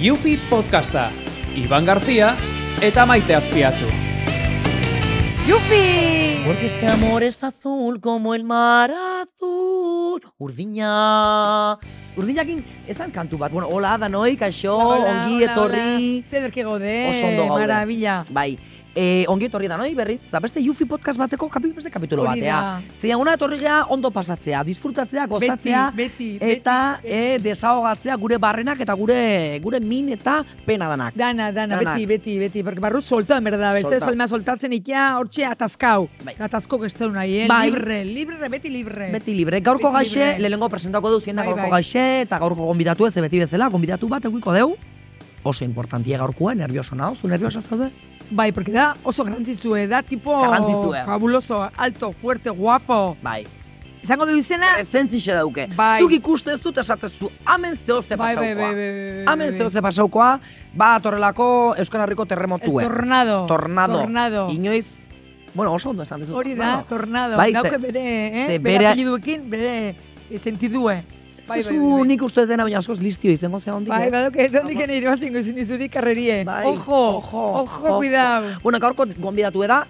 Yufi Podcasta, Iban García eta Maite Azpiazu. ¡Yupi! Porque este amor es azul como el mar azul. Urdina. Urdinakin esan kantu bat. Bueno, hola danoi, kaixo, ongi etorri. Zederki gaude, Oso ondo gaude. marabila. Bai. E, ongi etorri danoi berriz, da beste Yufi podcast bateko kapi, beste kapitulo Hori da. batea. Zeia una etorri gea ondo pasatzea, disfrutatzea, Beti, gozatzea beti, eta beti, e, desahogatzea gure barrenak eta gure gure min eta pena danak. Dana, dana, Danak. beti, beti, beti, porque barru solta, en verdad, beste Solta. ez balma soltatzen ikia, hortxe ataskau. Bai. Atasko gestau nahi, eh? Bai. Libre, libre, beti libre. Beti libre. Gaurko Eh. Beti gaxe, libre. lehenengo presentako deu zienda Bai, gaurko bai. gaxe, eta gaurko gonbidatu ez beti bezala, gonbidatu bat eguiko deu. Oso importantia gaurkoa, nervioso nao, zu nerviosa zaude? Bai, porque da oso grantzitsue, da tipo Garrantzitsue. fabuloso, alto, fuerte, guapo. Bai. Izango du izena? Zentzixe dauke. Bai. Zuk ikuste ez dut esatezu, amen zehozte Bai, bai, bai, pasaukoa. bai, bai, bai, Amen bai. zehozte pasaukoa, ba atorrelako Euskal Herriko El terremotue. tornado. E. tornado. Tornado. Inoiz, bueno, oso ondo esan dizu. Hori da, tornado. Bai, Dauke ze- bere, eh? ze Bere bere- apeliduekin, bere eh, sentidue. Ez zu nik uste dena baina askoz listio izango zea hondik. Bai, eh? badoke, dondik ene irabazingo izin izuri karrerie. Bai, ojo, ojo, ojo, cuidao. Bueno, gaurko gonbidatu e da,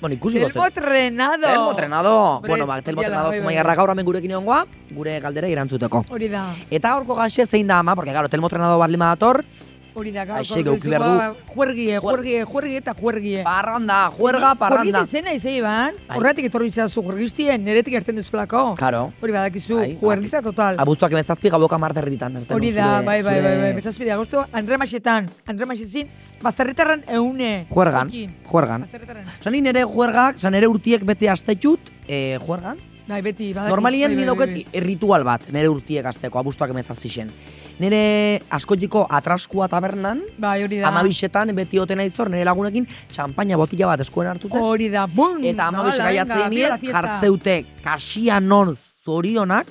bueno, ikusiko zen. Telmo trenado. Telmo Trenado. Hombre, bueno, ba, Telmo yala, Trenado bai, bai, zumaiarra gaur hemen gurekin egongoa, gure galdera erantzuteko. Hori da, Eta gaurko gaxe zein da ama, porque claro, Telmo Trenado bat lima dator, hori da. gaur, Aixe, gaur geuki behar du. goizukoa, Juergie, juergie, juergie eta juergie. parranda, juerga, parranda. Juergie izena izei ban, Bai. horretik etorri zazu juergistien, neretik erten duzulako. Claro. Hori badakizu, Bai, juergista total. Abuztuak emezazpi gaueko amarterritan. erten Hori du, da, zure- bai, bai, bai, bai, zure bezazpide agosto, Andre Maxetan, Andre Maxezin, bazarretarran eune. Juergan, Zuekin. juergan. Bazarretarran. Osa, ni nere juergak, osa, nere urtiek bete aztetxut, eh, juergan. Bai, beti, badakit. Normalien bai, ni bai, bai, dauket eh, ritual bat, nere urtiek azteko, abuztuak emezazpi zen. Nere askotiko atraskua tabernan, bai. Bai, hori da. amabixetan beti otena izor, nere lagunekin, txampaina botila bat eskuen hartute. Hori da, bum! Eta bai, amabes Hala, Mm, venga, gaiatzen viva la nien, fiesta. jartzeute, kasia non zorionak.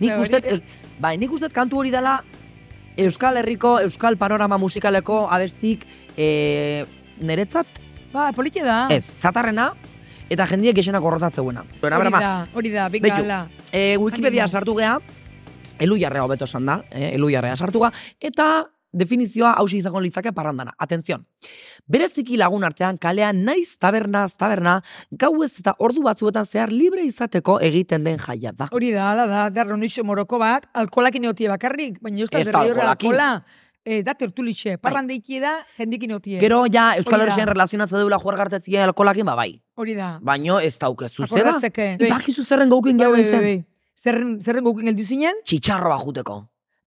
Nik Ba, uste, bai, nik uste kantu hori dela Euskal Herriko, Euskal Panorama musikaleko abestik e, niretzat, Ba, politia da. ez, zatarrena, eta jendiek esenak horrotatzeuena. Zuena, Hori berama, da, hori da, venga, Beitu. hala. e, Wikipedia Animo. sartu gea, elu jarrea hobeto esan da, eh, elu jarrea sartu ga, eta definizioa hausi izango litzake parrandana. Atenzion. Bereziki lagun artean kalean naiz tabernaz taberna, gauez eta ordu batzuetan zehar libre izateko egiten den jaia da. Hori da, hala da, da ronixo moroko bat, alkolakin eotie bakarrik, baina ez da Ez da berri horre alkoholakin. Bai. alkola. Ez da tertulixe, parran deikie da, jendikin otie. Gero ja Euskal Hori da. Herrian relazionatze deula juargartezien alkolakin, ba bai. Hori da. Baino ez daukezu zera. Akordatzeke. Bai, Ibakizu zerren gaukin bai, gau bai, bai, izen. bai. Zerren, zerren gukin geldu zinen? Txitxarroa juteko.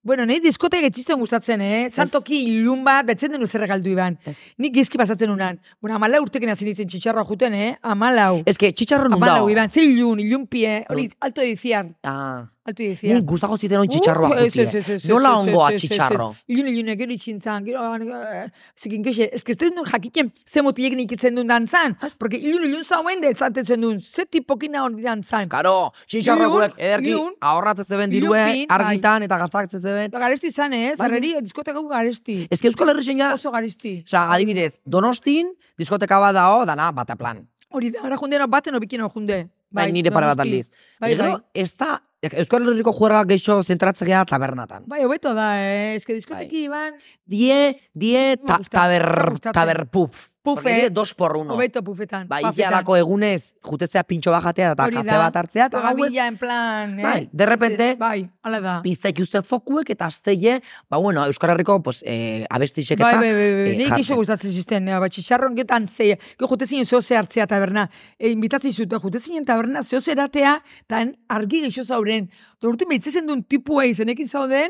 Bueno, nahi diskotek etxisten gustatzen, eh? Zantoki ilun bat, betzen denu zerra galdu iban. Ez. Nik gizki pasatzen unan. Bueno, amala urtekin hasi nintzen txitxarroa juten, eh? Amalau. Ez que txitxarro nun Amalau, dago. iban, ze ilun, ilun pie, hori, alto ediziar, Ah, alto ediziar. nik gustago ziten hon txitxarroa Uh, ez, ez, jutie. ez, ez, Nola ez, ez, ongoa ez, ez, ez. txitxarro? Ilun ilunek gero itxintzan, gero han, eh, zikin kexe, ez que ez dut jakiten ze motilek nik itzen duen dantzan, porque ilun ilun zauen da etzatezen duen, ze tipokin nahon dantzan. Karo, txintxarra Ilun, gureak ederki ilun. ahorratzen zeben dirue, Ilunpin, bai. argitan eta gastatzen zeben. Eta garesti izan eh, ez, Bai. herreri, diskoteko garesti, Ez que Euskal Herri zein oso garesti. Osa, adibidez, donostin, diskoteka bat dao, dana, bata plan. Hori da, ara junde, no, baten obikin hor junde. Bai, nire pare bat donosti. aldiz. Bai, Baina, bai. gero, ez da, Euskal Herriko juerga geixo zentratzea tabernatan. Bai, hobeto da, eh? ez que diskoteki Bai. iban, Die, die, Me ta, gusta, me taber, gustatzen. taber puf. Pufe. Porque die dos por uno. hobeto pufetan. Bai, pafetan. ikialako egunez, jutezea pintxo bajatea eta Hori kafe da. bat hartzea, Eta eta gauez, gabila en plan, eh? Bai, de repente- Bai, ala da. piztaik uste fokuek eta asteie, ba bueno, Euskal Herriko, pues, eh, abestixek Bai, eta bai, bai, bai. eh, Nik jartzen. iso gustatzen zisten, nea, bai, txitxarron getan zeia. Gero jute zinen zoze hartzea taberna. E, invitatzen zuten, jute zinen taberna zoze eratea, eta han argi geixo zauren. Dortu behitzezen duen tipua izenekin zauden,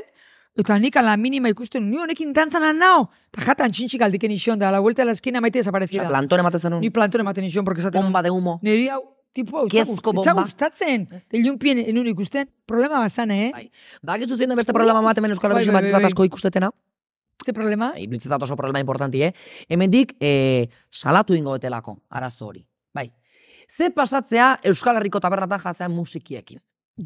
eta nik ala minima ikusten, ni honekin dantzan lan nao. Eta jatan txintxik aldiken ison da, la vuelta de la esquina maite Osa, desaparecida. plantone ematen zenun. Ni planton ematen ison, porque esaten bomba de humo. Neri hau, tipo hau, Gezko itza bomba. gustatzen. Ilunpien enun ikusten, problema bazan, eh? Bai. Bakizu zein den beste problema bat hemen Euskal Bai, Herriko bai, bat bai, bai. asko ikustetetena. Ze problema? Niretzat oso problema importanti, eh? Hemendik eh, salatu ingo betelako, arazo hori. Bai. Ze pasatzea Euskal Herriko tabernatan jatzean musikiekin.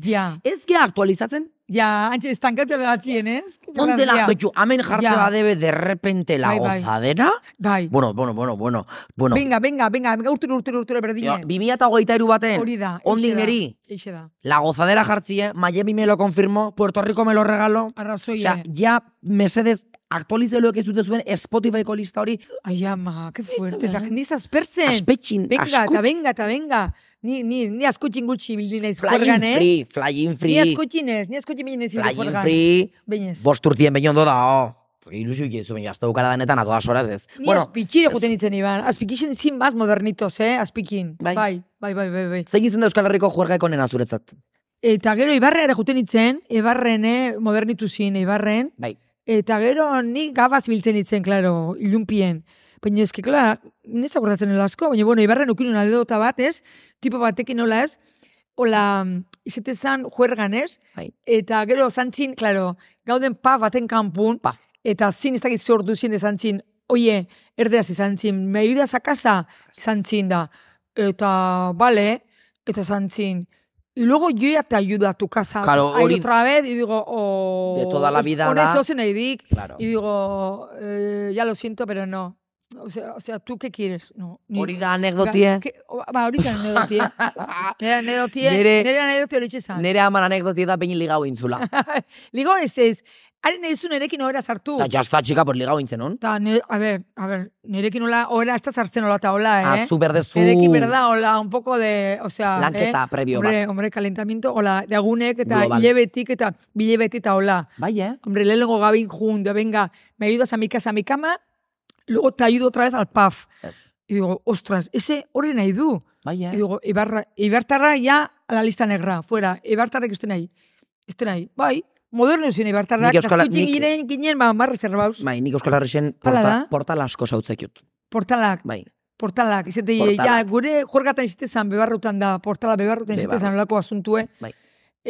Ja, Ez gea aktualizatzen? ja, antxe estankatea behatzien, eh? ez? Fontela, Ja. betxu, amen jartze Ja. badebe derrepente la Bai, bai. gozadera? Bai. Bueno, bueno, bueno, bueno. bueno. Venga, venga, venga, venga, urtero, urtero, urtero, Ja, berdine. 2023 baten, Hori da, eixe ondik da. neri, Eixe da, la gozadera jartzie, Miami me lo confirmó, Puerto Rico me lo regaló. arrazoia. eh. Osea, ja, mesedez, aktualizeloek ez dute zuen Spotifyko lista hori Ay, ama, qué fuerte. Eta jende izaz pertzen. aspetxin, Venga, askut- eta venga, eta venga. Ni, ni, ni askutxin gutxi bildi naiz flying juergan, eh? free, flying Ni free, askutxin ez, ni askutxin bildi naiz flying juergan. free, Beinez. bost urtien behin ondo da, oh. Ilusio ikizu, baina azta bukara danetan, a todas horas ez. Ni azpikire juten itzen iban. Azpikixen zin baz modernitos, eh? Azpikin. Bai. Bai, bai, bai, bai, bai. bai. zein izan da Euskal Herriko juergaiko nena zuretzat? Eta gero Ibarrera juten itzen, Ibarren, eh? Modernitu zin, Ibarren. Bai. Eta gero ni gabaz biltzen itzen, klaro, ilunpien. Baina eski, klar, nez akordatzen nela asko, baina bueno, Ibarren ukinun anedota bat, ez? Tipo batekin nola ez? Ola, izetezan juergan, ez? Bai. Eta gero zantzin, klaro, gauden pa baten kanpun, Paf. eta zin ez dakit zordu zin esan zin, oie, erdeaz izan zin, me ayudas a casa, izan zin da. Eta, bale, eta izan zin, y luego yo ya te ayudo a tu casa. Claro, Ahí hori- otra vez, y digo, oh... De toda la vida da- zozen edik, Claro. y digo, eh, ya lo siento, pero no. O sea, o sea, ¿tú qué quieres? No, ni- Hori da anekdotie. Ga- ke- o- Ba, hori zan anedotie. Nire anedotie, Nere- nire anedotie hori txezan. Nere aman anekdotie da pein ligau intzula. Ligo ez ez, haren ez zu nerekin ohera sartu. Eta jazta txika, pues ligau intzen hon. Ta, ne, a ver, a ver, nerekin hola, hola, ez da sartzen hola eta hola, eh? Azu berdezu. Nerekin berda, hola, un poco de, o sea, Lanketa eh? previo hombre, bat. Hombre, calentamiento, hola, de agunek eta Global. hilebetik eta bilebeti eta hola. Bai, eh? Hombre, lehenengo gabin junto, venga, me ayudas a mi casa, a mi cama, luego te ayudo otra vez al PAF. Ez. Y digo, ostras, ese horre nahi du. Bai, eh? Y digo, Ibarra, Ibartarra ya a la lista negra, fuera. Ibartarra que estén ahí. Estén ahí. Bai, moderno zen Ibartarra. Nik Euskal- Kaskutxin nik- ginen, ginen, ba, mar reservaus. Bai, nik Euskal Herrixen Hala porta, da. portal asko sautzekiut. Portalak, Bai. portalak. Izete, Portalak. ja, gure jorgatan izate zan, bebarrutan da, portala bebarrutan izate Bebarru. zan olako asuntue. Bai. eh?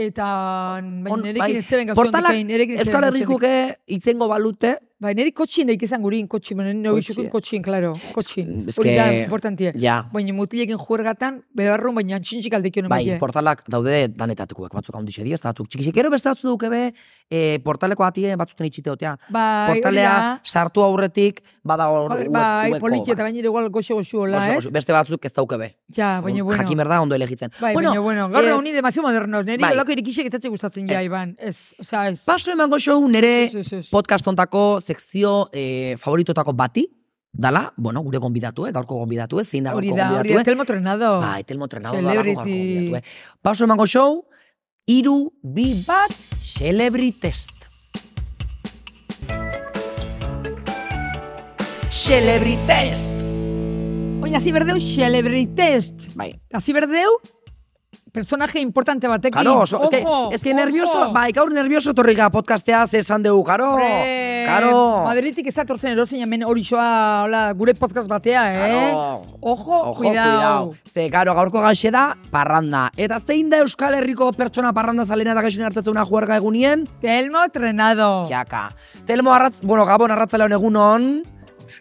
Eta, baina On- nerekin bai. ez zeben gauzion Portalak dikain, nerekin ez zeben Euskal gauzion Herrikuke itzengo balute, Bai, niri kotxin daik izan gurin, kotxin, baina nire Kotxi, bitxukin eh. kotxin, klaro, kotxin. Es Hori da, que- importantie. ja. Baina mutilekin juergatan, bebarrun, baina antxintxik aldekion Bai, emaie. portalak daude danetatukuek, batzuk handixe di, ez da batzuk txikixek. Gero beste batzuk duke be, e, portaleko atie batzuten itxiteotea. Bai, hori Portalea da. sartu aurretik, bada hor Joder, web- Bai, webko poliki bat. eta baina igual goxo goxo hola, Oso, ez? oso, beste batzuk ez dauke be. Ja, baina Jakin bueno. berda ondo elegitzen. Bai, baina bueno, gaur eh, egun ni demasiado modernos, neri bai. Eh. olako irikixek ez zatxe gustatzen ja, Iban. Ez, osea, ez. Paso emango show nere Ez, ez, ez. podcast ontako sekzio eh, favoritotako bati, dala, bueno, gure gonbidatue, gaurko gonbidatue, zein da Hori gaurko da, hori da, gonbidatue. telmo trenado. Ba, etelmo trenado da gaurko Celebrity. gonbidatue. Paso emango show, iru, bi, bat, celebritest. Celebritest! Oin, hazi berdeu, celebrity test. Bai, Hazi berdeu, personaje importante batekin. Karo, oso, es que, Ojo, es que ojo. nervioso, bai, gaur nervioso torri ga podcastea ze esan dugu, karo, Hombre, karo. Madridik ez datorzen erozein hemen hori xoa, hola, gure podcast batea, eh? Karo. Ojo, Ojo, cuidao. cuidao. Ze, karo, gaurko gaxe da, parranda. Eta zein da Euskal Herriko pertsona parranda zalena eta gaixen hartatzen una juerga egunien? Telmo trenado. Jaka. Telmo arratz, bueno, Gabon arratzaleon egunon.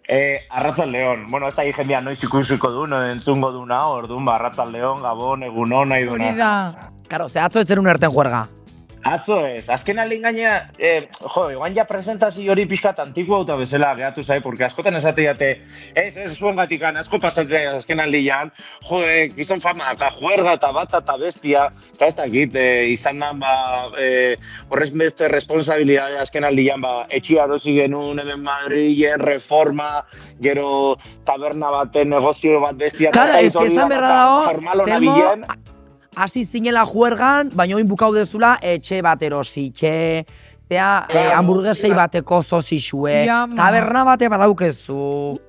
Eh, Arratzal León. Bueno, ez da jendea noiz ikusiko du, no entzungo duna, orduan, ba, Arratzal León, Gabon, egunon, nahi duna. Hori da. Karo, ze atzo etzen un erten juerga. Atzo ez, azken alin gaina, eh, jo, iguan ja presentazio hori pixkat antikoa eta bezala gehatu zai, porque askotan esate date, ez, ez, zuen gatikan, asko pasatzea azken aldian, jo, eh, gizon fama, eta juerga, eta bata, eta bestia, eta ez dakit, eh, izan nan, ba, eh, horrez beste responsabilidade azken aldian, ba, etxia erosi genuen, hemen Madrilen, reforma, gero taberna baten, negozio bat bestia, Karo, eta ez que esan berra dago, formalo Telmo, nabilen, a- hasi zinela juergan, baina oin bukau dezula, etxe bat erositxe, tea, eh, Claro. hamburgesei bateko zozixue, Ja, ma. taberna bate badaukezu.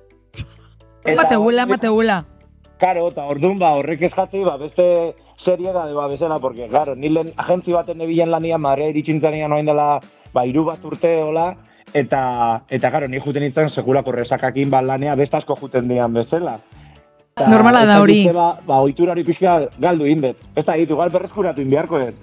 Eta- Mate huela, mate huela. Karo, eta orduan ba, horrek eskatzi, ba, beste seriedade ba, bezala, porque, claro, ni lehen agentzi baten ebilen lanian, Madrea iritsintzanian oain dela, ba, iru bat urte hola, eta, eta, karo, ni juten izan sekulako resakakin ba, lanea beste asko juten dian bezala. Eta Normala ez da dakit hori. ze Ba, ba, ohitura hori pixka galdu indet. Ez da, ditu, gal berreskuratu inbiarko dut.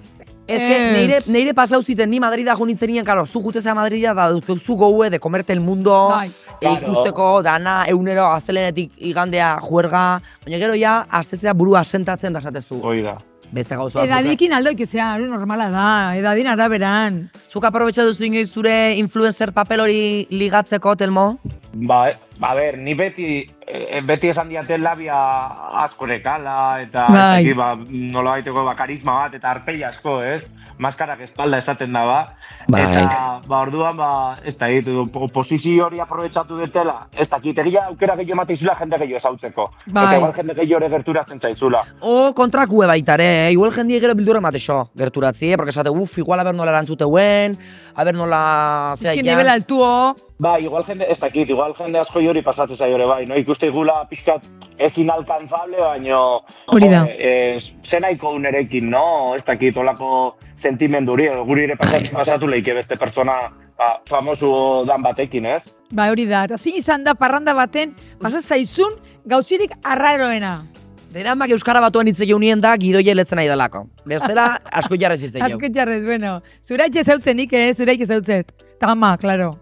Ez que Ez. neire, neire pasau ziten ni Madrida jo nintzen nien, karo, zu jutezea Madrida da duzu goue de comerte el mundo, Bai. e, Claro. ikusteko dana, eunero, aztelenetik igandea juerga, baina gero ja, aztezea burua sentatzen da esatezu. Hoi da. Beste gauza batzuk. Edadekin aldoik ezea, hori normala da, edadin araberan. Zuk aprobetsa duzu inoiz zure influencer papel hori ligatzeko, Telmo? Ba, e- ba, a ber, ni beti, e, beti esan diaten labia askorekala, eta Bai. ez dakit, ba, nola baiteko ba, karisma bat, eta arpegi asko, ez? Maskarak espalda esaten da, ba. Bai. Eta, ba, orduan, ba, ez da, ditu, po- posizio hori aprobetsatu dutela, ez dakit, egia aukera gehiago emateizula jende gehiago ezautzeko. Bai. Eta igual jende gehiago ere gerturatzen zaizula. O kontrakue baita ere, eh? igual jendie gero bildurra matexo, gerturatzie, eh? porque esate, uf, igual aber nola erantzuteuen, aber nola... zera Es que jan. nivel altuo. Ba, igual jende, ez dakit, igual jende asko hori pasatu zaio ere bai, no? Ikuste gula pixkat ez inalcanzable, baino... Hori da. Eh, zenaiko unerekin, no? Ez dakit, olako sentimenduri, edo guri ere pasatu, Bai. pasatu leike beste pertsona ba, famoso dan batekin, ez? Ba, hori da. Eta zin izan da parranda baten, pasa zaizun gauzirik arraroena. Deramak Euskara batuan hitz egin unien da gidoia letzen nahi dalako. Bestela, asko jarrez hitz egin. Azken jarrez, bueno. Zuraik ez hautzen nik, eh? Zuraik ez hautzen. Tama, klaro.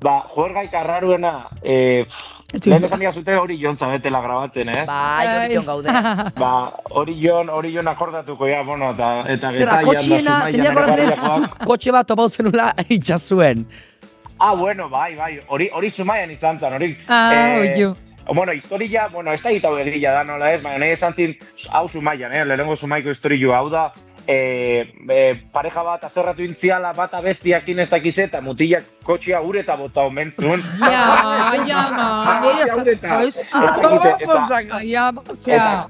Ba, juergaik arraruena, eh, Ez lehen dut- esan dizute hori jon zabetela grabatzen, ez? Ba, Bai, Bai. hori gaude. hori jon, hori jon akordatuko, ja, bueno, eta... eta Zerra, getaian da kotxiena, zumaian zeina goratzen erabakiakoak. kotxe bat topau zenula itxasuen. Ah, bueno, bai, bai, hori, hori zumaian izan zen, hori... Ah, eh, oio. Bueno, historia, bueno, ez da egitau egila da nola ez, baina nahi izan zin, hau zumaian, eh, lehenengo zumaiko historio hau da, eh, eh, pareja bat azorratu intziala bat abestiakin ez dakiz eta mutilak kotxia ureta bota omen zuen. Ja, ja, ma. Ah, Ja, jaureta. ja, Eta- ja, o sea,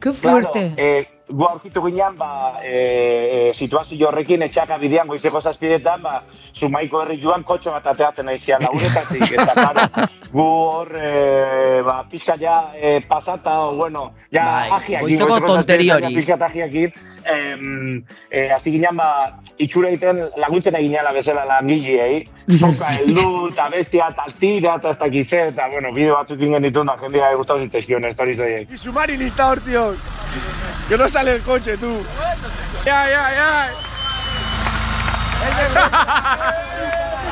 que fuerte. Claro, eh, gu aurkitu ginean, ba, eh, eh, situazio horrekin etxaka bidean goizeko zazpidetan, ba, zumaiko herri joan kotxo bat ateatzen nahi zian lagunetatik, eta claro, gu hor, eh, ba, pixka ja eh, pasata, o, bueno, ja Bai, ajiakin, goizeko tonteri zazpidetan, ja hori. Pixka eta ajiakin, em, eh, hasi ginean, ba, itxura egiten laguntzen egin ala bezala langileei, Zoka heldu, eta bestia, eta tira, eta ez dakize, eta, bueno, bideo batzuk ingen ditun, da jendea eh, gustatu zitezkion, stories horiek. Y Sumari lista Ortión. Que no sale el coche, tú. Ya, ya, ya.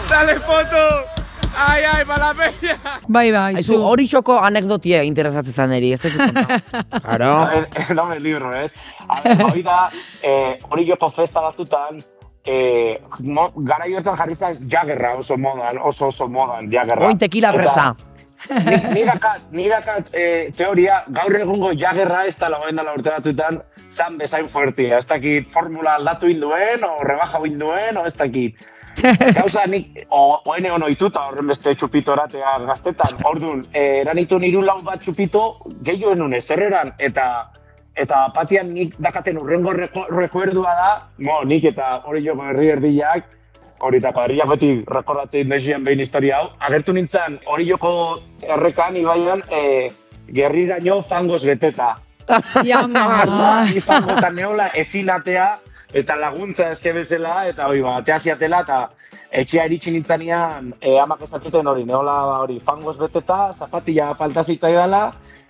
Dale foto. Ay, ay, para la peña. Bai, bai, Aizu, zu. hori xoko anekdotie interesatzen zan eri, ez ez Claro. Eh, no me libro, ez? A ver, hori da, eh, hori jopo festa batzutan, eh, mo, gara joetan jarri zen jagerra oso modan, oso oso modan jagerra. Oin tequila fresa. Nik, nik dakat, nik dakat eh, teoria, gaur egungo jagerra ez da lagoen dela urte batzuetan, zan bezain fuertia, ez dakit formula aldatu induen, o rebaja induen, o ez dakit. Gauza nik, o, oen egon oituta horren beste txupitoratea gaztetan, orduan, eh, eranitu niru lau bat txupito gehiago enun ezerreran, eta eta patian nik dakaten urrengo reko, rekuerdua da, mo, nik eta hori joko herri erdiak, hori eta kuadrilla beti rekordatzen desian behin historia hau, agertu nintzen hori joko errekan ibaian e, gerriraino zangoz beteta. Ja, ma. Ah. Ni zangotan neola ezinatea eta laguntza eske bezala eta hori ba, teaziatela eta etxea iritsi nintzanean e, amak esatzuten hori, neola ba, hori fangoz beteta, zapatila falta zitzaidala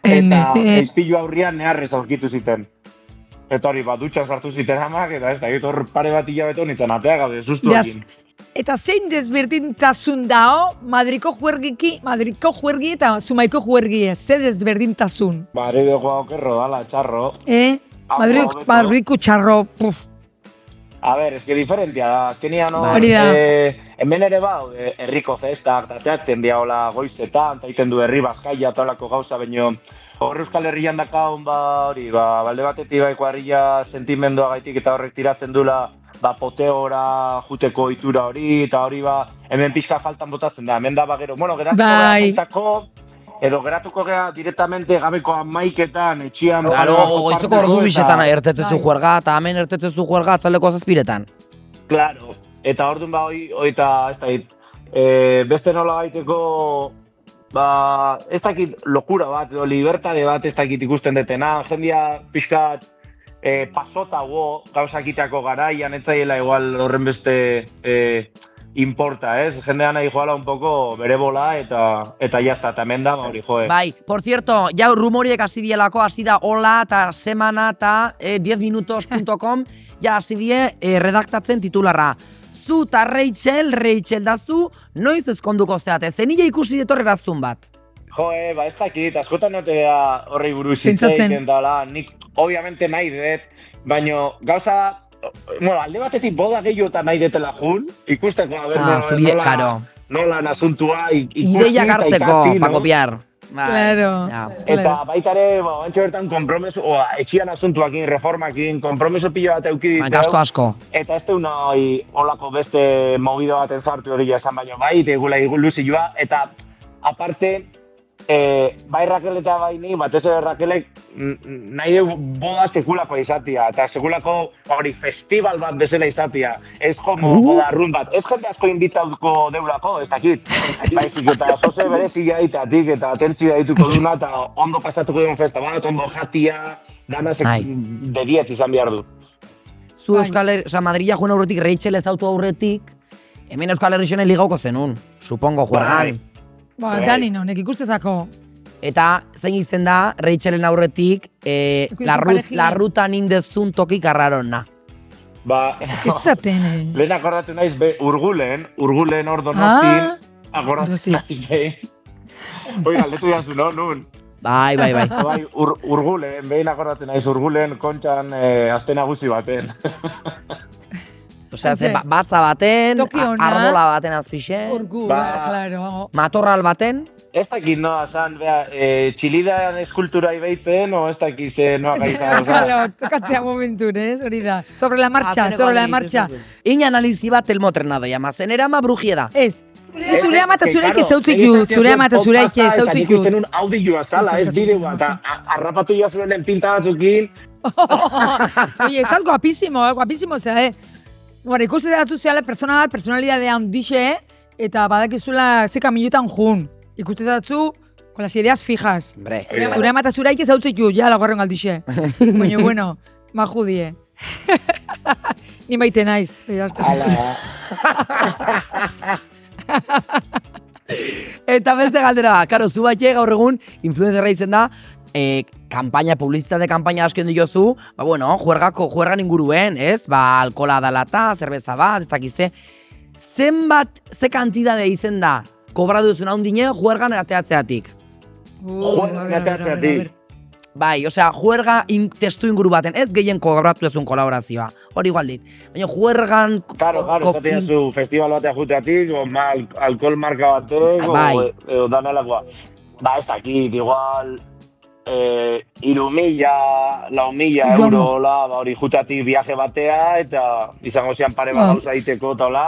eta Ene. izpilu aurrian neharrez aurkitu ziten. Eta hori, ba, dutxan sartu ziten amak, eta ez da, egit hor pare bat hilabete honetan, atea gabe, sustu Beaz, Eta zein desberdintasun dao Madriko juergiki, Madriko juergi eta Zumaiko juergi ez, ze desberdintasun. Ba, ere dugu okerro dala, txarro. Eh? Ah, ba, Madriko, hobeto. Madriko txarro, puf. A ber, ezke diferentia da, azkenian hor, Hori da. eh, hemen ere bau, eh, herriko festak, dateatzen dia hola goizetan, eta egiten du herri bazkaia eta holako gauza, baino hor Euskal Herrian dakaun, ba, hori, ba, balde batetik baiko herria sentimendua gaitik eta horrek tiratzen dula, ba, poteora juteko itura hori, eta hori, ba, hemen pixka faltan botatzen da, hemen da, ba, gero, bueno, geratuko gara Bai. faltako, edo geratuko gara direktamente gabeko amaiketan, etxian, Claro, balonako goizeko parteko ordu eta- bisetan ertetezu Bai. juerga, eta hemen ertetezu juerga atzaleko zazpiretan. Claro, eta orduan ba hoi, hoi eta ez dakit, e, beste nola gaiteko, ba, ez dakit lokura bat, edo libertade bat ez dakit ikusten detena, jendia pixkat e, pasota go, gauzak itako garaian, ez zaiela igual horren beste e, importa, ez? Jendean nahi joala un poco bere bola eta eta jazta, eta hemen da, ba, hori joe. Bai, por cierto, ja rumoriek hasi dielako, hasi da hola eta semana eta eh, 10minutos.com ja hasi die eh, redaktatzen titularra. Zu eta Rachel, Rachel da zu, noiz ezkonduko zeate, zenile ikusi detorreraztun bat. Joe, ba ez dakit, askotan notea horri buruz Pentsatzen. hitzeiten dala, nik obviamente nahi dut, baino gauza da, bueno, alde batetik boda gehiago eta nahi detela jun, ikusteko, a ber, Ah, zuri, karo. nola nasuntua, ik- ikusi Ideiak eta hartzeko, ikasi, pa no? kopiar. Bai, Claro. ja. Claro. Eta baita ere, ba, bantxo bertan kompromiso, oa, etxian asuntuakin, reformakin, kompromiso pilo bat euki Ba, gasto asko. Eta ez deuna hoi olako beste mogido baten sartu hori jasan baino bai, tegula igu luzioa, eta aparte, e, bai Rakel eta bai ni, batez ere Rakelek mm, mm, nahi du boda sekulako izatia, eta sekulako hori festival bat bezala izatia, ez como boda arrunt bat, ez jende asko inbitauko deulako, ez dakit, baizik eta zoze berezia itatik, eta atentzia dituko duna, eta ondo pasatuko duen festa bat, ondo jatia, dana sek, Bai. de 10 izan behar du. Zu Bai. Euskal Herri, oza, Madrila joan aurretik, Reichel ez autu aurretik, hemen Euskal Herri xenen ligauko zenun, supongo, juergan. Bai. Ba, Bai. Dani honek ikustezako. Eta zein izen da, Reichelen aurretik, eh, Ikusi la, ru, parejide. la ruta nindezun tokik arrarona. Ba, Ez zaten, eh. Lehen akordatu naiz, be, urgulen, urgulen hor donostin, ah, Donosti. akordatu naiz, be. Oi, galdetu jazu, no, nun? Bai, bai, bai. Ah. Bai, ur, urgulen, behin akordatu naiz, urgulen kontxan eh, azte nagusi baten. Osea, ze, Ze. ba- batza baten, Toki a- ona. arbola baten azpixe, Orgua, Ba. claro. matorral baten, Ez dakit noa zan, bea, eh, txilidan eskultura ibeitzen, o ez dakit ze noa gaita, oza. Claro, tokatzea momentu, ez, hori da. Sobre la marcha, Azkeneko sobre la alderik marcha. izan zuen. Iña analizi bat elmo trenado, jama, zenera ma brujieda. Ez. Ez, Zure ez, ama eta Eh, que, zureik claro, ez zautzik egiten ju, zitzuen zure ama eta zureik podcasta, ez zautzik Eta nik ju. usten un audioa zala, Ez ez zaitzazu. bideoa, eta a- arrapatu jazuenen pinta batzukin, Oye, estás guapísimo, eh, guapísimo, o sea, eh. Bueno, ikusi da zuzeala persona bat, personalidade handixe, eh? eta badakizula ze kamiotan jun. Ikusi da zu, con las ideas fijas. Hombre, Hori da. Zure ama eta zureik ez zautzik ju, ja, laguarren galdixe. Baina, bueno, ma judie. Ni maite naiz. eta jazta. ala, Eta beste galdera da, karo, zu batxe gaur egun influenzerra izen da, e, kampaina, publizitate kampaina asko indi jozu, ba, bueno, juergako, juergan inguruen, ez? Ba, alkola dalata, zerbeza bat, ez dakizte. Zenbat, ze kantidade izen da, kobra duzun handine juergan ateatzeatik. Uh, Joder, a ver, a ver, a ver, a nateatzea, ver. Bai, osea, juerga in, testu inguru baten, ez gehien kobratu duzun kolaborazioa. Hori igual dit. Baina juergan... ko- Claro, claro, ko- esatea zu festival batea juteatik, o ma, al- alkohol marka batek, o, Bai. edo danalakoa. Ba, ez dakit, igual, eh, iru mila, lau mila Joan. euro, hola, ba, hori juteatik viaje batea, eta izango zian pare Ah. bat gauza egiteko, eta hola,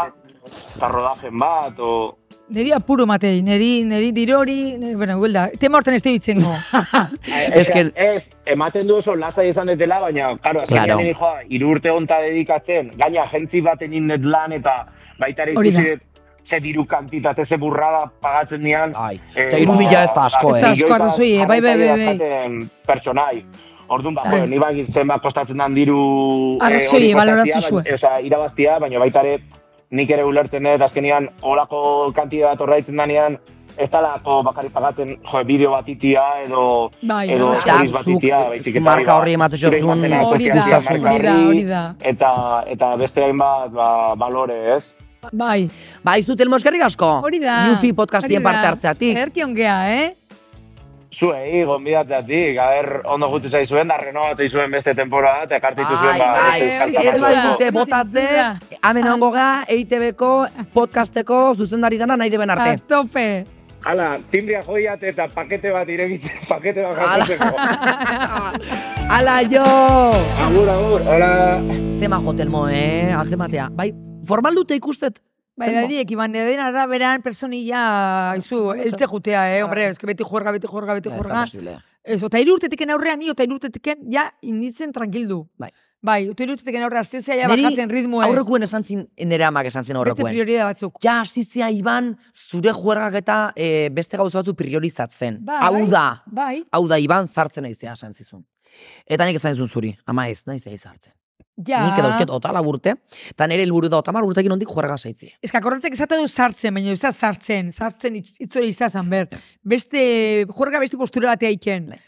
eta rodajen bat, o... Neri apuro matei, neri, neri dirori, neri, bueno, guelda, tema horten ez dibitzengo. Ah, Es que- Ez, ematen du oso lasai izan detela, baina, claro, azkenean Claro. claro. joa, hiru urte honta dedikatzen, gaina agentzi baten indet lan, eta baita ere Hori da. ikusi dut, ze diru kantitate, ze burrada pagatzen eh, ba, dian, Bai, eta iru mila ez da asko, Ez da eh? asko, arrazoi, eh, bai, bai, bai, bai. Pertsonai. Orduan, ba, Bai. bueno, ni bakit zenbat kostatzen dan diru... eh, Arrazoi, hori kostatzea, balorazio baina- zuen. eh, Osea, irabaztia, baina baita ere nik ere ulertzen dut, azkenean olako kantidad bat ordaintzen danean, ez talako bakarrik pagatzen, jo, bideo bat itia, edo... Bai, edo hori da. stories bat itia, Zuk baizik eta... marka hori da, horri ematen zure diozun imajena, Hori da, sozialki, hori marka da, horri, hori da. Eta, eta beste hainbat, ba, balore, ez? Bai, Bai, zu telmo eskerrik asko. hori da. Newfi podcastien Hori da. parte hartzeatik. Ederki ongea, eh? Zuei, gonbidatzeatik, haber, ondo gutu zaizuen, da renovatzei zuen beste temporada, eta ekartu zituzuen, ba, bai, beste bai, eskaintza ez ez batzuk. bai batzuk. dute botatzen, hemen E ongo ga, EITB-ko, podcasteko, zuzendari dana nahi deben A arte. tope. Hala, timbria joiat eta pakete bat irekitzen, pakete bat jasotzeko. Ala jo! agur, agur, hola. Zema jo, telmo, eh? Antzematea. Bai, formal dute ikustet. Bai, Telmo. dadiek, iban, den araberan personilla, izu, eltze jutea, eh, hombre, ez que beti juerga, beti juerga, beti Ja, ez da juerga. posible. Ez, eta hiru urteteken aurrean, ni, eta hiru urteteken, ja, inditzen tranquildu. Bai. Bai, eta hiru urteteken aurrean, azten ja Neri bajatzen ritmoa. Aurrekuen esan zin, nere amak esan zin Beste aurrekuen. prioridad batzuk. Ja, asizia Iban, zure juergak eta eh, beste gauza batzu priorizatzen. Bai. Hau da, Bai, hau da Iban zartzen naizea esan zizun. Eta nik esan zizun zuri, ama ez, naizea izartzen. ja. Nik edauzket otala urte, eta nire helburu da otamar urtekin ondik juerga saitzi. Ez que akordatzek esate du sartzen, baina ez da sartzen, sartzen itz- itzore izazan ber. Beste, juerga beste postura batea iken. Bai.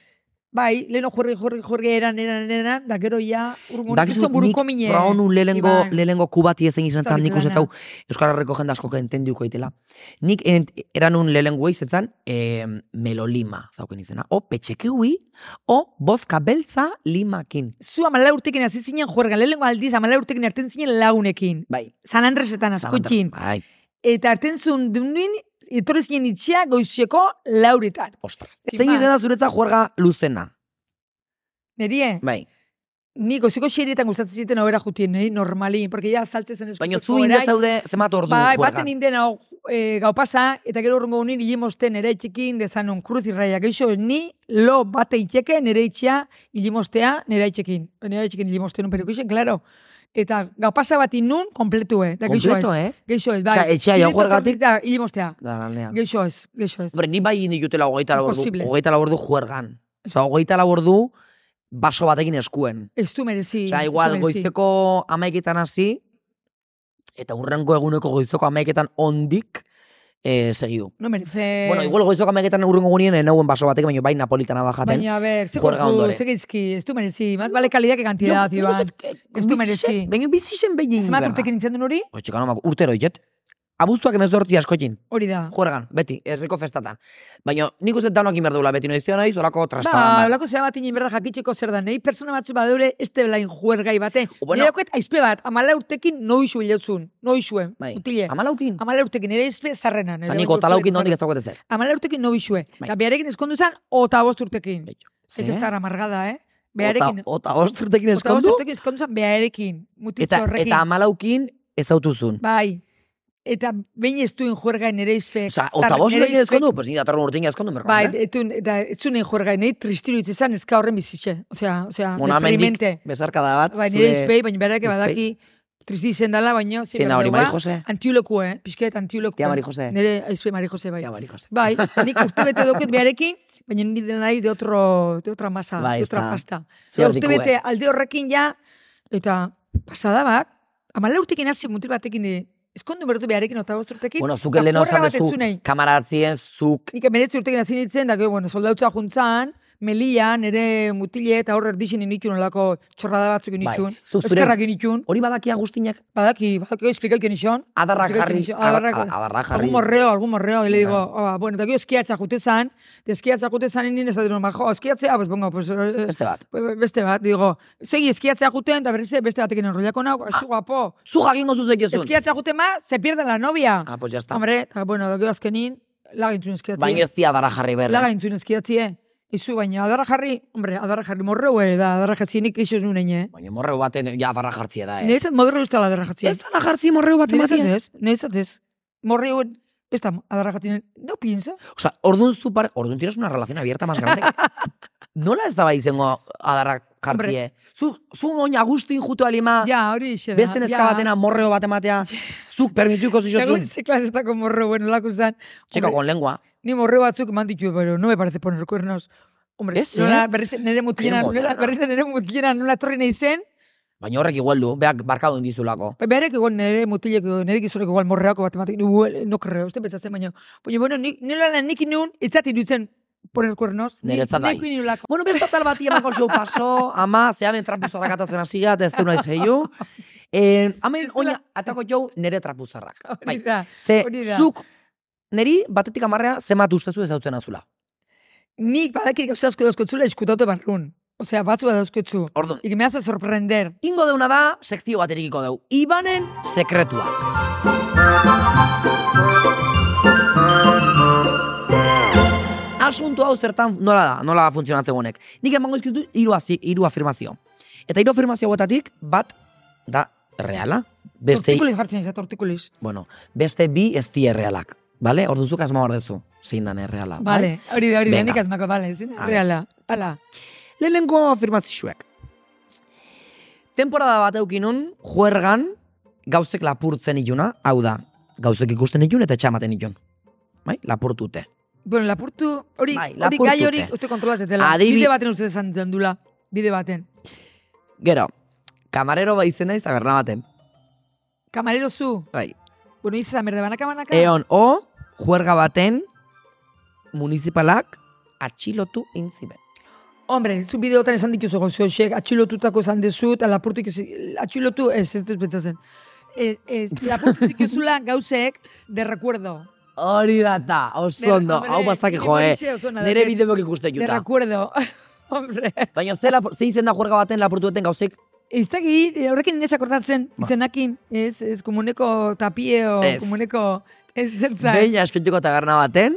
Bai, leheno juerge, juerge, juerge, eran, eran, eran, da gero ja, urgun, Bakizu, kriston buruko nik mine. proba honun lehengo, Iban. lehengo kubati ezen izan zan, Hori nik uste plana. hau Euskal Herriko jende asko entendiuko itela. Nik ent, eranun lehengo izetan eh, melolima, zauken izena. O petxekiui, o bozka beltza limakin. Zu amala urtekin hasi zinen juerga, lehenengo aldiz amala urtekin erten zinen launekin. Bai. San Andresetan San Andres, askoikin. Bai. eta artenzun dunin, etorri zinen itxia goizeko lauretan. Ostra. Sin Zein más. izena zuretza juerga luzena. Nerie, Bai. ni goizeko xerietan gustatzen ziten obera jutien, nahi, normali, porque ya saltzen zen Baina zu inde zaude zemat ordu Bai, juergan. baten inden hau e, gau pasa, eta gero urrungo honin hilimosten ere itxekin dezanon kruz irraia. Geixo, ni lo bate itxeke nere itxia hilimostea nere itxekin. Nere itxekin hilimosten un perikuixen, klaro. Eta gau pasa bat inun, kompletu, eh? Da, geixo Kompleto, ez. eh? Geixo ez, bai. Osea, etxea Nire jaujuergatik- etorkizunak da Hilimostea. Da, lanean. Geixo ez, geixo ez. Hombre, ni bai indi jutela hogeita lau ordu, Imposible. hogeita lau ordu juergan. Osa, hogeita lau ordu baso batekin eskuen. Ez du merezi. Osa, ez du igual, merezi. goizeko amaiketan hasi, eta urrengo eguneko goizeko amaiketan ondik eh, segidu. No merece. Bueno, igual goizoko amaiketan urrengo gunien enauen baso batek, baina bai napolitana bajaten. Baina, a ver, ze juerga gortu, ondore. ze geizki, ez du merezi. Más vale calidad que cantidad, Iván. Ez du merezi. Baina bizixen behin egin Zenbat berra. urtekin nintzen duen hori? Oitxe, kanomak, urtero itet. Abuztuak emezortzi askotin, Hori da. juergan, beti, herriko festatan. Baina nik uste danok inberdula, beti noizio nahi, zolako trastadan. Ba, bat. holako zea bat inen berda jakitxeko zer da, nahi pertsona batzu badeure ez debelain juergai bate. Bueno. Bueno. Nire dauket aizpe bat, amala urtekin noizu hilotzun, noizue, Bai. utile. Amalaukin. Amala urtekin, nire aizpe zarrena. Eta nik otalaukin nondik ez daukate zer. Amala urtekin noizue, Bai. eta beharekin eskondu zen, ota bost urtekin. Bai. Eta ez da amargada, eh? Beharekin, Ota, ota osturtekin ota bost eskondu. urtekin eskondu zen, beharekin, Eta, mutitxo horrekin. eta amalaukin ezautu zuen. Bai, eta behin ez duen juergai nire aizpe. Osa, zar- ota nire osturtekin aizpek- eskondu, pues nire datorren urtekin eskondu merkoan. Bai, eh? etun, eta ez zuen juergai, nahi tristiru izan ezka horren bizitxe. Osea, osea, Bueno, hemendik deprimente. bezarkada bat. Ba, nire zure- izpei, baina berak izpei. badaki tristi izen dela, baina... ze Zein da hori, gaur Mari daua, Jose? Antiuleku, eh? Pixket, antiuleku. Tia Mari Jose. Nire aizpe Mari Jose, bai. Ja, bari, Jose. Bai, eta nik urte bete doket beharekin, baina nire naiz de, otro, de otra masa, Bai, de otra ezta. pasta. Zu Ja, urte erdikue. bete alde horrekin ja, eta pasada bat, amala urtekin hasi mutil batekin de, eskondu berdu beharekin, eta bosturtekin, Bueno, zuk lehen osan dezu, kamaratzien, zuk, Nik emeretzi urtekin hasi nintzen, da, gero, bueno, soldautza juntzan, melia, nere mutile eta horre erdixin initun olako txorrada batzuk initun, Bai, zuk zure- eskerrak initun. hori badaki Agustinak Badaki, badaki, explikaik nixon. adarrak Explikaik jarri, nixon, adar- adarrak- adarrak jarri. Algún morreo, algún morreo, y le digo, Claro. ah, bueno, eta gero eskiatza jute zan, eta eskiatza jute zan, nien ez adero, jo, eskiatzea, pues, bongo, pues, eh, Beste bat. eh, beste bat, digo, segi eskiatzea juten, eta berriz ere beste batekin enrollako nau, Ah. zu guapo, Zu jakingo zuzek ezun. eskiatzea juten ma, se pierde la novia. Ah, pues ya está. Hombre, eta, bueno, da gero azkenin, lagintzun eskiatzea. Baina ez dia dara jarri berri. Laga entzun ezkiatzie. Izu baina adarra jarri, hombre, adarra jarri morreu ere da, adarra jatzi nik iso nunein, eh? Baina morreu baten, ja, barra jartzia da, eh. Neitzat morreu ez dela adarra jatzi. Ez dara jartzi morreu bat Neitzat ematia. ez, neitzat ez. Morreu ez da adarra jatzi, no piensa. Osa, orduan zu par... Orduan tienes una relación abierta más grande. Nola ez da bai izango adarra jartzie? Zu, zu oin Agustin jutu alima, Ja, hori xe da. Ah. beste neska batena morreo bat ematea, zuk permituko Segun zizozun. ze klasetako morreu, bueno, lako zan. Txeka, Hombre, con lengua. Ni morreu batzuk eman ditu, pero no me parece poner cuernos. Hombre, Ez, eh? nola berriz nere mutilena, Qué moderna. nola berriz nere mutilena, nola torri nahi zen, Baina horrek igual du, beak barkadun dizulako. Ba, Beharek egon nire mutilek, nire gizorek igual morreako bat ematik, "Ue, eh, no creo, uste pentsatzen baino. Baina, bueno, nik, nire lan nik inun, itzat iruditzen poner cuernos. ni- Niretzat bai. Nik inulako. Bueno, beste tal bati emako show paso, ama, zea ben trapuzarrak atatzen hasiga, eta ez du nahi zehiu. Eh, ama, oina, atako jau nere trapuzarrak. Hori da, Ze, hori da. zuk, neri, batetik amarrea, zemat ustezu ezautzen azula. Nik badakik gauza asko dauzkotzula eskutatu barrun. Osea, batzu dauzkotzu. Orduan, Ike me hace sorprender. ingo deuna da, sekzio baterikiko deu. Ibanen sekretuak. Asunto hau zertan nola da, nola funtzionatzen honek. Nik emango izkizu hiru azi- hiru afirmazio. Eta hiru afirmazio guetatik, bat da reala, beste, Tortikulis jartzen izan, tortikulis. bueno, beste bi ez di errealak. Bale? Orduzuk asma hor dezu. Zein dan erreala. bai? Vale, hori da, hori da, Venga. nik azmako, vale, zin, A ver. reala, ala. Lehenengo afirmazioak. Temporada bat eukinun, juergan, gauzek lapurtzen iluna, hau da, gauzek ikusten ilun eta txamaten ilun. Bai, lapurtute. Bueno, lapurtu, hori, Bai, hori gai hori, lapurtute. uste kontrolazetela. Adibi- Bide baten uste esan zendula, bide baten. Gero, kamarero bai izena iz taberna baten. Kamarero zu, Bai. bueno, izan berde banaka banaka. Eon, o, juerga baten, municipalak, atxilotu intziben. Hombre, zu bideotan esan dituzu gozo, xek, atxilotutako esan dezu, eta lapurtik ez- atxilotu, ez, ez dut pentsatzen. Ez, ez, lapurtu dituzula gauzek de recuerdo. Hori data, De- oso ondo, hombre, hau bazak nik jo, eh. horixe oso ona Nere daukat. bideok ikusten De juta. recuerdo. Hombre, Baina, ze, lapur- ze izen da juerga baten lapurtueten gauzek Ez daki, eh, horrekin inez akordatzen, Ba. izenakin, ez, ez, komuneko tapieo, Ez. komuneko, ez zertzai. Behin askontxeko taberna baten,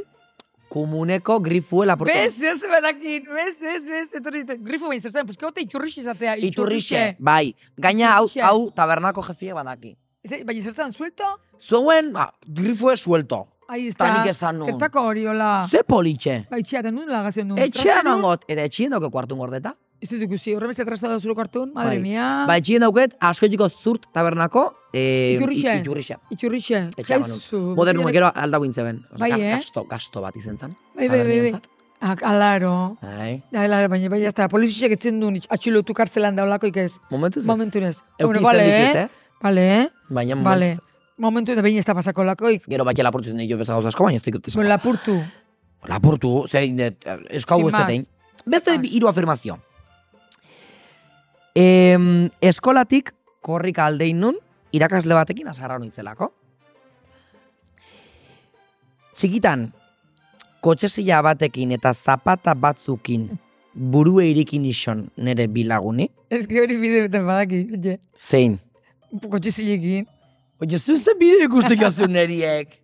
komuneko grifuela portu. Bez, ez berakin, bez, bez, bez, etorri ziten. Grifo bain zertzen, pues gote iturrixe izatea, Iturrixe, bai. Gaina hau, Iturrixe. hau tabernako jefiek badaki. Ez, Baina zertzen, suelto, Zuen, ba, grifue suelto. ahí está. Tanik esan nun. Zertako hori, hola. Ze politxe. Ba, itxea, eta nun lagazio nun. Etxean Trastan nun? ongot, eta etxien dauke kuartun gordeta. Ez dut ikusi, horre beste trasta da zure kartun, madre Bai. mia. Ba, etxien dauket, askontxeko zurt tabernako, e, Iturrixe. i- iturrixe. Iturrixe, Etxean ongot. jaizu. Modernu bilerak- gero alda guintze ben. Osea, Bai, ga- eh? Gasto, gasto bat izen zan. Bai, bai, bai, bai. tabernentzat. Ak, alaro. Bai. Da, alaro, baina, baina, ez da, polizixek etzen duen itx- atxilotu kartzelan daulako ikez. Momentuz ez. Momentunez. Euki Bueno, izan vale, ditut, eh? eh? Vale, eh? Baina Vale. momentuz ez. Momentu eta behin ez da pasako lakoik. Gero batxe lapurtu zen ditu bezak asko, baina ez dikut Bueno, izan. lapurtu. Lapurtu, zer indet, eskau Sin ez datein. más. Beste Sin más. hiru afirmazio. Em, eskolatik korrika aldein nun, irakasle batekin azarra nintzelako. Txikitan, kotxesila batekin eta zapata batzukin burue irikin ison nere bilaguni. Ez que hori bide beten badaki, oie. Zein? Kotxe zilekin. Oye, zuzen bide ikustik azun neriek.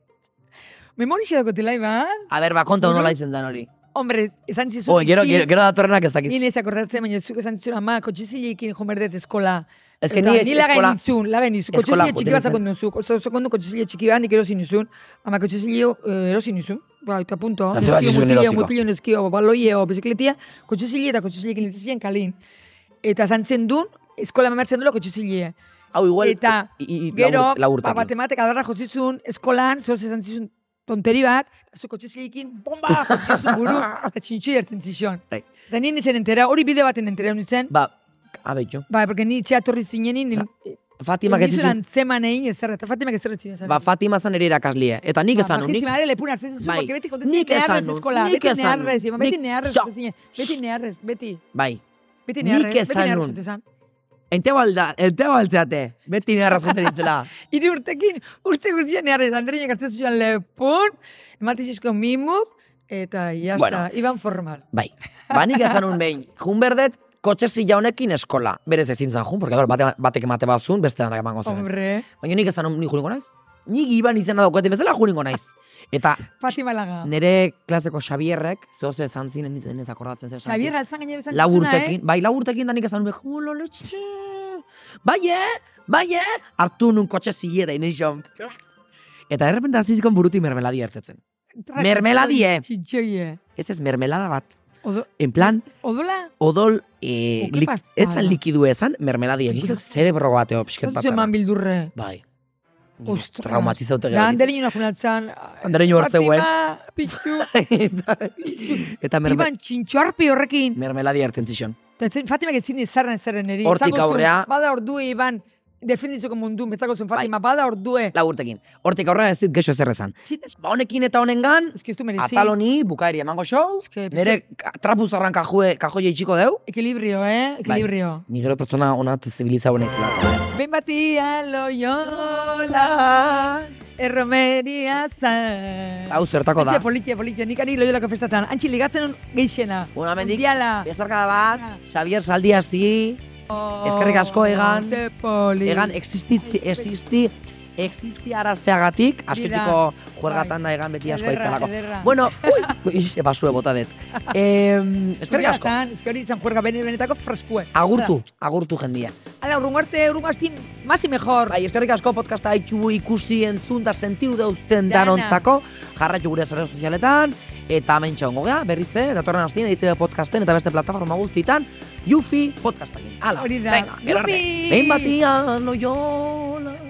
Memorixe dako tela, Iban? A ber, ba, konta Buru- nola izen dan hori. Hombre, esan zizun. Oh, gero, itxi, gero, gero datorrenak ez dakiz. Ni ez akordatzen, baina zuk esan zizun ama, kotxe zilekin jomerdet eskola. Ez que Eta ni, ni etx- laga eskola- nintzun, laga nintzun. Kotxe eskola zile txiki bat joaten zakon nuzuk. Oso sekundu kotxe zile txiki bat nik erosi nizun. Ama kotxe zile eh, erosi nizun. Ba, eta punto. Eta ze bat zizuen mutilio, erosiko? mutilio, neskio, baloieo, ba, bizikletia. Kotxe zile eta kotxe zilekin nintzen kalin. Eta zantzen duen, eskola mamertzen duela kotxe zile. Hau igual, Eta i- i- Gero, lau urte. ba, matematik adarra jozizun, eskolan, zoz esan zizun tonteri bat, zu kotxezilekin, bomba, jozizun buru, eta txintxu erten zizun. Bai. Da nien nintzen entera, hori bide baten entera nintzen, Ba, abetxo. ba, porque ni txea torri zinenin, nin- Fatima nintzen getzizun. antzeman egin ezerra, eta Fatimak ezerra zinen zan. Ba, Fatima zan ere irakaslie. Eta nik esan nun, nik... Ba, lepun hartzen zizun, Bai. porque beti kontetzen Nik esan neharrez nun, eskola, nik beti esan nun. neharrez, Iban, beti Nik- neharrez, Ja. jotzen zinen, beti neharrez, beti, Bai. beti Nik neharrez, beti esan neharrez, nun. jotzen zan. Ente balda, ente baltzeate. Beti neharra zuten ditzela. Hiri urtekin, urte guztian erre, Andreina hartzen zuen lepun, ematizizko mimu, eta jazta, Bueno. iban formal. Bai. Ba, nik esan nun behin. Jun berdet, kotxe zila honekin eskola. Berez ezin zan jun, porque claro, bate, batek emate bazun, beste danak emango zen. Hombre, Baina nik esan nun, ni juningo naiz. Nik iban izena daukaten bezala juningo naiz. Eta Fatima Laga. nire klaseko Xabierrek, zehoz esan zinen izan ez akordatzen zer esan zinen. Xabier Galtzan gainera esan lau zizuna, urtekin, bai, lau urtekin da nik esan, nuen, "Jo, lolo, txe, bai, eh, bai, eh, hartu nun kotxe zile da inizio. Eta errepente azizikon buruti mermeladi ertetzen. eh? Trak- mermeladie. Txitxoie. Ez ez mermelada bat. Odo- En plan, Odola, odol, eh, Oke, lik, pasada. ez zan likidu ezan, mermeladi. Nik ez zerebro bateo, pixket kontu zeman batzela. bildurre. Bai. Ni Ostras. Traumatizaute Da, gero. Andreina junatzen. Andereño hartzeuen. Fatima, Pitxu, Eta- Eta merme, Iban txintxoarpi horrekin. mermeladi erten zion. Eta zen, Fatima gezin izarren ezerren eri. Hortik Esango zuen, aurrea. Bai. Bada ordue, Iban, defenditzeko mundun, bezako zuen Fatima, bada ordue. Lau urtekin. Hortik aurrera ez dit geixo ezer esan. Ba, honekin eta honengan, Ez que ez du merezi. Atal honi, bukaeri emango show, Ez que- nire ka- trapu zarran kajue, kajoia itxiko deu. Equilibrio, Bai. eh? Equilibrio. Ni gero pertsona honat zibilizago naizela. Ben batia loiola, erromeria zan. Hau zertako da. Antxe politia, politia, nik ari loiolako festatan. Antxe ligatzen un geixena. Una mendik, Mundiala. bezarka da bat, Xavier Saldi hasi, eskerrik asko egan, Oh, Ze poli. egan e- existi, existi, existi arazteagatik, asketiko juergatan da egan beti asko Ederra, aitzalako. ederra. Bueno, ui, ixe basue bota dut. Em, Eskerrik eskerrik asko. asko. Ez que hori izan juerga bene- benetako freskue. Agurtu, agurtu jendia. Hala, urrungo arte, urrungo astin, más y mejor. Bai, eskerrik asko podcasta haitxu ikusi entzun da sentiu dauzten Dana. danontzako, jarraitu gure zare sozialetan, eta hemen txongo gea, berriz, eh, datorren hastien edite podcasten eta beste plataforma guztietan, Yufi podcastakin. Hala, Hori da. venga, gero arte. Yufi! Behin batian, oiola.